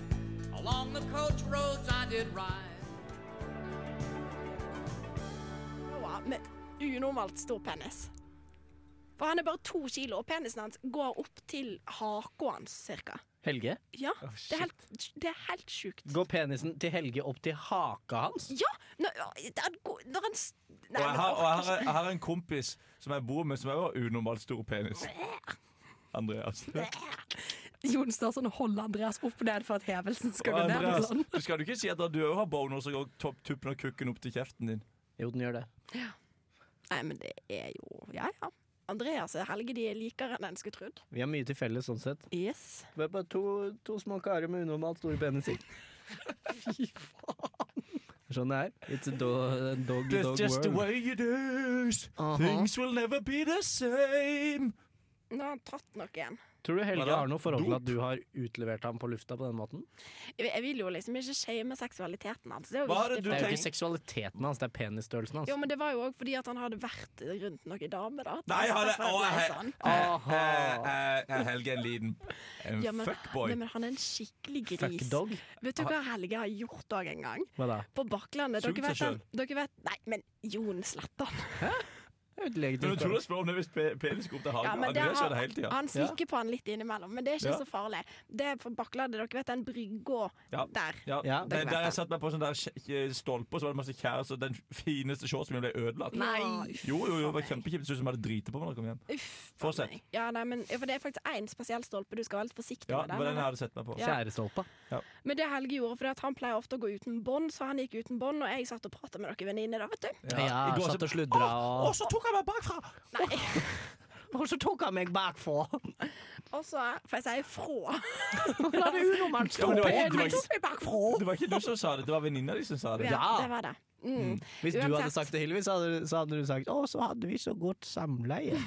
Along the coach roads I did ride.
Noah med unormalt stor penis. For han er bare to kilo, og penisen hans går opp til haka hans, cirka.
Helge?
Ja, det er helt, det er helt sjukt.
Går penisen til Helge opp til haka hans?
Ja! Når, det er go- når han s- Nei,
Og jeg
men
har, og jeg
<laughs>
har,
orker
jeg har en kompis som jeg bor med, som også har unormalt stor penis. Andreas.
ikke. Jon Starsson holder Andreas opp ned for at hevelsen skal gå ned.
Andreas,
Sånn.
du skal jo ikke si at du òg har boner som går topp- tuppen og kukken opp til kjeften din.
Jo, den gjør det.
Nei, men det er jo Ja, ja. Andreas og Helge de er likere enn en skulle trodd.
Vi har mye til felles sånn sett.
Yes.
Vi er bare to, to små karer med unormalt store
<laughs>
peniser. Fy faen. Sånn det er. It's a do, dog, dog world.
way it is. Things will never be the same.
Nå har han tatt noe igjen.
Tror du
Hva
Helge
da?
har noe forhold til
Dop?
at du har utlevert ham på lufta på den måten?
Jeg, jeg vil jo liksom ikke shame seksualiteten hans. Det er jo
Hva er
viktig
det du
Det
for-
er jo
tenk-
ikke seksualiteten hans, det er penisstørrelsen hans.
Jo, men det var jo òg fordi at han hadde vært rundt noen damer, da.
Nei, han er,
Derfor
å,
ble
jeg,
sånn.
jeg,
Aha.
jeg, jeg, eh, Helge er en liten en
Ja, men,
fuckboy.
Nei, men han er en skikkelig gris.
Fuck dog. Ah.
Vet du hva Helge har gjort òg en gang?
Hva da?
På Bakklandet.
Sugd
Dere vet,
seg
han, dere vet Nei, men Jon Slettan.
Det er jo et
Men
legitimt
du tror
spørsmål.
du spør om det hvis pe- penis går opp til
Ja,
hagen?
men det
Andreas
har-
gjør det hele tiden.
Han snikker på han litt innimellom, men det er ikke
Ja.
så farlig. Det er på Bakklandet. Dere vet den brygga
Ja.
der.
Ja,
Ja,
det,
det vet
der
jeg.
jeg satt meg på sånn der kje- stolpe, og så var det masse kjærester, og den fineste shortsen min ble ødelagt.
Nei.
Jo, jo, jo, det var kjempekjipt. Det så ut som jeg hadde driti på meg da jeg kom hjem.
Uff.
Fortsett.
meg. Ja, nei, men, ja, for det er faktisk én spesiell stolpe. Du skal være litt forsiktig
Ja, det
med den.
var den jeg
men-
hadde sett meg på.
Ja.
Kjærestolpa.
Men det Helge gjorde, for han pleier ofte å gå uten bånd, så han gikk uten bånd, og jeg satt og prata med dere venninner da, vet du.
Ja,
I går så-
satt og sludra
Å,
og
så tok han meg bakfra! <laughs>
Nei.
Og så tok han meg bakfra!
Og så For jeg sier fra.
Han er unormalt
Ja, men det
stor
var ikke-
penis!
det var ikke-
meg bakfra!
Det var ikke du som sa det, det var venninna di som sa det.
Ja, det var det. Mm.
Hvis du hadde
Uansett.
sagt det, Hillevi, så hadde, så hadde du sagt 'Å, så hadde vi så godt <laughs> samleie'.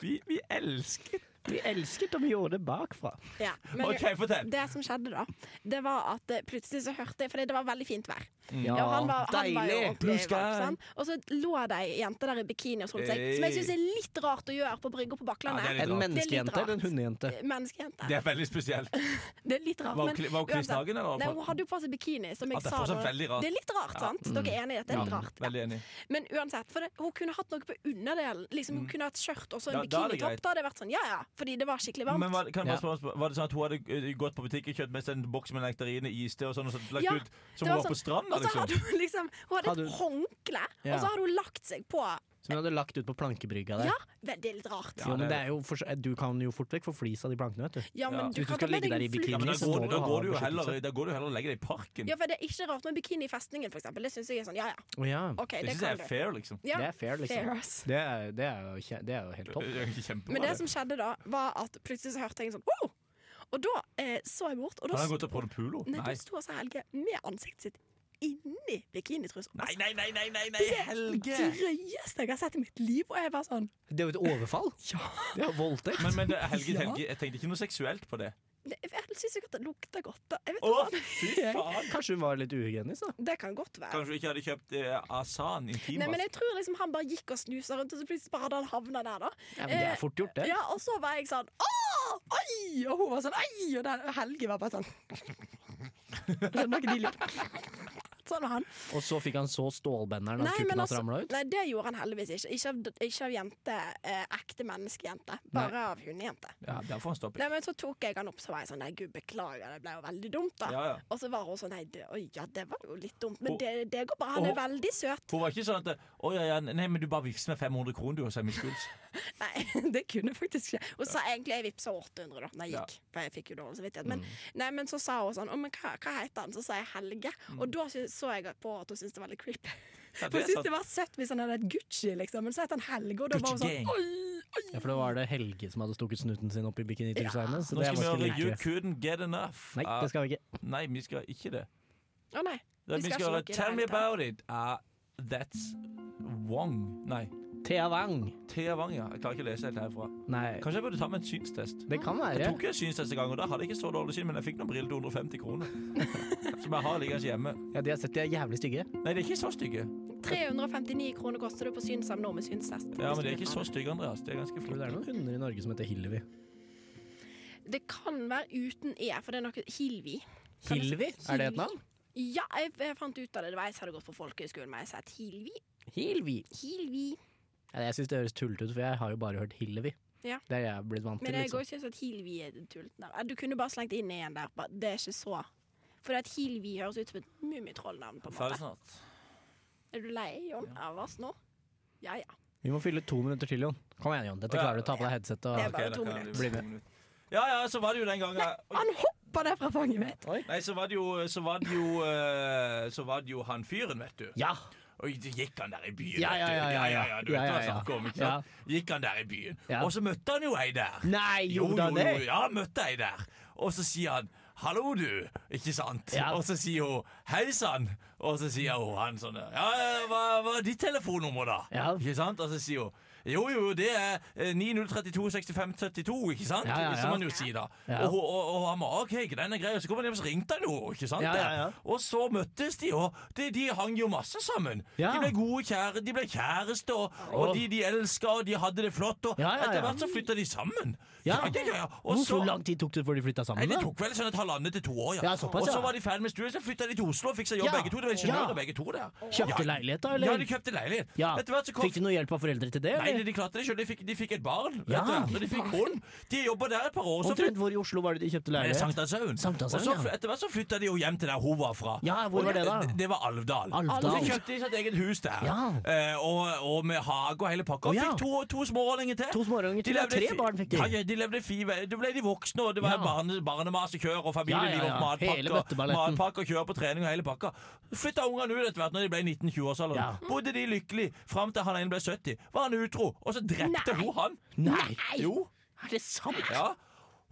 Vi, vi elsker
Vi elsket og vi gjorde det bakfra.
Ja. Men
OK, fortell.
det som skjedde da, det var at eh, plutselig så hørte jeg For det var veldig fint vær.
Ja,
og han var, han var jo
deilig!
ordentlig
Blue sky.
varm, sant? Og så lå det ei jente der i bikini og solte seg, som jeg syns er litt rart å gjøre på brygga på
Ja,
Bakklandet.
det er
En
litt rart.
menneskejente eller en hundejente?
Eh, Menneskejente.
Det er veldig spesielt.
Det er litt rart.
Var hun
men
kli- var hun
uansett.
klissnaken, eller?
Nei, hun hadde jo på seg bikini. Som jeg
Ja, det er
sa
fortsatt
da.
veldig rart.
Det er litt rart, sant? Dere er enig i at det er litt
Ja,
rart?
veldig enig.
Men uansett, for det, hun kunne hatt noe på underdelen. Liksom, hun kunne hatt skjørt og så en
Ja, Mm. da er det
bikinitopp.
greit.
Da hadde det vært sånn, ja ja, fordi det var skikkelig varmt.
Men var, kan
Ja.
jeg bare spørre, var det sånn at hun hadde eh, gått på butikken kjøpt med seg en boks med nektariner, iste og sånn, og så lagt
Ja,
ut som hun
Det var
var på
sånn-
stranda,
Og så
liksom?
hadde hun liksom Hun hadde
Hadde
et håndkle,
Ja.
og så hadde hun lagt seg på
Som hun hadde lagt ut på plankebrygga der.
Ja, det det er litt rart.
Jo, men det er jo for, du kan jo fort vekk få flis av de plankene, vet du.
Ja, men
Ja.
du
Hvis du
kan
skal
ta med
ligge
deg
der i
en
bikini,
Ja, men da
så må
går,
flytende
du
da
ha
går du jo
beskyttelse.
heller, da går du heller og legger deg i parken.
Ja, for det er ikke rart med bikini i festningen, for eksempel. Det syns jeg er sånn, ja ja,
Å ja.
Det
OK, det
syns jeg
kan
er
du.
fair, liksom.
Ja,
Det er fair, liksom.
fair, ass.
Det er, det, er jo, kje- det er jo helt topp.
Det er ikke
Men
Kjempebra.
det som skjedde da, var at plutselig så hørte jeg en sånn wow! Og da eh, så jeg bort, og da,
Har han
sto-
gått og prøvd pulo?
nei, da sto altså Helge med ansiktet sitt inni bikinitrusa.
Nei, nei, nei, nei, nei, nei, Helge!
Det drøyeste jeg har sett i mitt liv, og jeg bare sånn
Det <laughs> er jo et overfall.
Ja.
Det er jo voldtekt.
Men, men det, Helge, Helge, jeg tenkte ikke noe seksuelt på det.
Det er vel syns jeg at det lukter godt. Da. Jeg vet
Å,
ikke hva. <laughs>
fy faen!
Kanskje hun var litt uhygienisk, da.
Det kan godt være.
Kanskje du ikke hadde kjøpt eh, Asan
Nei, men
Intimas?
jeg tror liksom han bare gikk og snusa rundt, og så plutselig bare hadde han havna der, da.
Ja, men det er fort gjort, det.
Ja, og så var jeg sånn Å! Oi! Og hun var sånn Oi! Og den, Helge var bare sånn Skjønner ikke de lydene. Sånn var han.
Og så fikk han så stålbenderen at
Nei, men
kukken hans
altså-
ramla ut.
Nei, det gjorde han heldigvis ikke. Ikke av, ikke av jente, eh, ekte menneskejente. Bare av hundejente.
Ja, der får han stoppe.
Nei, men så tok jeg han opp, så var jeg sånn Nei, gud, beklager, det ble jo veldig dumt, da.
Ja, ja.
Og så var hun sånn Nei, det, oi, ja, det var jo litt dumt, men
Og-
det, det går bra. Han
og-
er veldig søt.
Hun var ikke sånn at Å ja, ja, nei, men du bare vifser med 500 kroner, du, og så er vi
<laughs>
skuls.
Nei, <laughs> det kunne faktisk skje. Hun sa egentlig jeg vippsa 800 da når jeg gikk, for jeg fikk jo dårlig samvittighet. Men,
Mm.
nei, men så sa hun sånn Å, men hva, hva heter han? Så sa jeg Helge. Og da sy- så jeg på at hun syntes det var litt creepy.
Ja,
For
Mm. det
hun
er
syntes
sant.
det var søtt hvis han hadde et Gucci, liksom. Men så het han Helge, og da var hun
Gucci gang.
sånn Oi!
Ja, for det var det Helge som hadde stukket snuten sin opp i bikinitrusa hennes. Så
Nå
det
skal vi
var
høre
ikke
You
like.
Couldn't Get Enough.
Nei,
av-
det skal vi ikke.
nei vi skal ikke det.
Å nei.
Vi skal, høre
ikke
Tell
noe i
Me
det hele tatt.
About It av That's Wong. Nei,
Thea Wang.
Thea Wang, ja. Jeg klarer ikke å lese helt herfra.
Nei,
Kanskje jeg burde ta med en synstest.
det kan
Jeg
være.
tok en synstest en gang, og da hadde jeg ikke så dårlig syn, men jeg fikk noen briller til 150
<laughs>
kroner. Som jeg har liggende hjemme.
Ja, de har sett de er jævlig stygge.
Nei, de er ikke så stygge.
359 kroner koster det på Synsam nå med synstest.
Ja, men de er ikke så stygge, Andreas. De er ganske
Det er
flotte.
noen hunder i Norge som heter Hillevi.
Det kan være uten E, for det er noe Hilvi. Kan jeg-
Hilvi? Er det et navn?
Ja, jeg, jeg fant ut av det. Det var jeg som hadde gått på folkehøyskolen, men jeg sa et Hilvi.
Hilvi.
Hilvi.
Ja, jeg syns det høres tullete ut, for jeg har jo bare hørt Hillevi.
Ja.
Det er jeg blitt vant til.
Men jeg
Liksom.
òg syns at Hilvi er tullete navn. Eh, Du kunne bare slengt inn en der. bare- Det er ikke så For at Hilvi høres ut som et mummitrollnavn, på en
Ferdig
måte.
snart.
Er du lei, Jon, av oss nå? Ja ja.
Vi må fylle to minutter til, Jon. Kom igjen, Jon. Dette
Å, ja.
klarer du. Ta på deg headsetet
Det er
og
bare to
Ok, da kan
minutter.
du-
Bli med.
to minutter. Ja, ja, så var det jo den gangen Oi.
Han hoppa der fra fanget mitt!
Nei, så var det jo Så var det jo, eh, så var det jo han fyren, vet du.
Ja!
Og så gikk han der i byen,
Ja,
vet
ja,
du.
ja, ja,
ja,
ja.
Du vet
Ja, ja,
hva jeg
ja.
snakker om, ikke
Ja.
sant? Gikk han der i byen.
Ja.
Og så møtte han jo ei der.
Nei, gjorde han det?
Ja, møtte ei der. Og så sier han 'hallo, du', ikke sant?
Ja.
Og så sier hun 'hei sann', og så sier hun han sånn 'ja, ja, hva, hva er ditt telefonnummer, da?'
Ja.
Ikke sant? Og så sier hun jo, jo, det er eh, 9032 65 72, ikke sant?
Ja, ja, ja.
Som han jo sier da.
Ja.
Og, hun- og, og han bare OK, den er grei. Og så kom han hjem, så ringte han jo, ikke sant?
Ja, ja, ja.
Og så møttes de, og de, de hang jo masse sammen.
Ja.
De ble gode kjære, de ble kjæreste, og,
Åh.
og de de elska, og de hadde det flott. Og
Ja, ja, ja.
etter hvert så flytta de sammen.
Ja.
Og
Hvor
så,
så lang tid tok det før de flytta
nei,
sammen?
det
da?
tok vel sånn et halvannet til to år, ja.
Ja, såpass,
og så
ja.
var de ferdig med studiet, så flytta de til Oslo og fiksa jobb
Ja.
begge to. De var ingeniører
Ja.
begge to der.
Kjøpte
ja.
leilighet, da?
Ja,
Eller?
de kjøpte leilighet.
Ja.
Etter hvert så kom
Fikk de noe hjelp av foreldre til det?
Nei,
eller?
de klarte det sjøl. De, fikk- de fikk et barn.
Ja.
etter hvert, Og de fikk hund. De jobba der et par år. Så
Omtrent hvor i Oslo var det de kjøpte
Nei,
leilighet?
Sankthanshaugen.
Sankthanshaugen,
Og så fly-
ja.
Etter hvert så flytta de jo hjem til der hun var fra.
Ja, hvor
Og
var det da?
Det var Alvdal.
Alvdal.
Og så kjøpte de sitt eget hus der.
Ja.
Eh, og, og med hage og hele pakka.
Å,
Og
ja.
fikk to, to smååringer til.
To smårøringer til? ja,
levde
Tre
fi-
barn fikk de.
Ja, ja, de levde fire Da ble de voksne, og det var
Ja.
barne, barnemas og kjør og familieliv
Ja, ja, ja.
og
Hele
matpakke. og-
bøtteballetten.
Matpakke og kjør på trening og hele pakka. Flytta ungene ut etter hvert når de ble 19-20-årsalderen.
Ja.
Bodde de lykkelig fram til han ene ble 70. Var han utro, og så drepte
Nei.
hun han.
Nei!
Jo.
Er det sant?
Ja.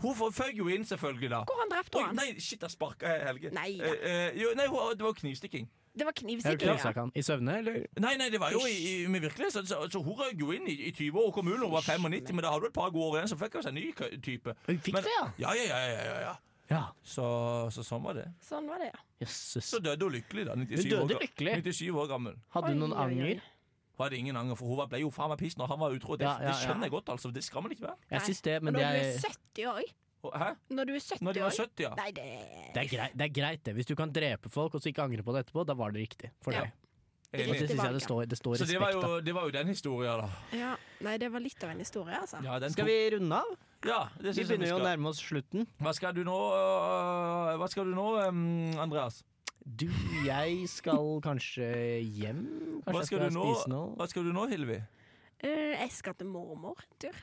Hun forføg jo inn, selvfølgelig, da.
Hvor han drepte
Oi,
han?
nei, shit, jeg sparka jeg Helge.
Nei, ja.
eh, eh, jo, nei, hun- det var knivstikking.
Det var
Jeg
knivstikking.
knivstakk han. I søvne, eller?
Nei, nei, det var jo i, i, med virkelig, så, så, så hun røk jo inn i, i 20 år og kom ut når hun var 95, men da hadde hun et par gode år igjen, så fikk hun seg en ny k- type.
Hun fikk
men,
det, ja?
Ja, ja, ja, ja, ja, ja.
Ja.
Så, så sånn var det.
Sånn var det, ja.
Jøsses.
Så døde hun lykkelig, da.
Hun
97,
døde
år, ga-
lykkelig?
97 år gammel.
Hadde hun noen
Oi, oi, oi.
anger?
Hun hadde ingen anger, for hun var- ble jo faen meg piss når han var utro. Det,
Ja, ja,
det
ja.
skjønner jeg godt, altså. Det skal man ikke være.
Jeg
Nei.
syns det, men
Og
det
når du er
er
70 år
Og- Hæ?
Når du er 70
Når de
år
var 70, ja.
Nei, det
det er, greit, det er greit, det. Hvis du kan drepe folk og så ikke angre på det etterpå, da var det riktig for
Ja.
deg.
er
Og
Enig.
det syns jeg det står, det står
Så det var,
respekt av.
jo, det var jo den historien, da.
ja. Nei, det var litt av en historie, altså.
Ja, den
Skal
tok-
vi runde av?
Ja, det
Vi
synes jeg vi
begynner jo å
skal.
nærme oss slutten.
Hva skal du nå, øh, hva skal du nå øhm, Andreas?
Du, jeg skal kanskje hjem? Kanskje
Hva
jeg
skal, du nå,
spise noe?
hva skal du nå, Hilvi?
Eh, Jeg skal til mormor en tur.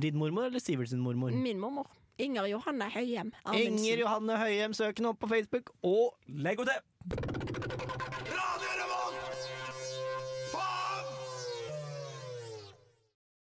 Din mormor eller Sivert sin mormor?
Min mormor. Inger Johanne Høyem. Amundsen.
Inger Johanne Høyem, søk henne opp på Facebook og
Legg henne til!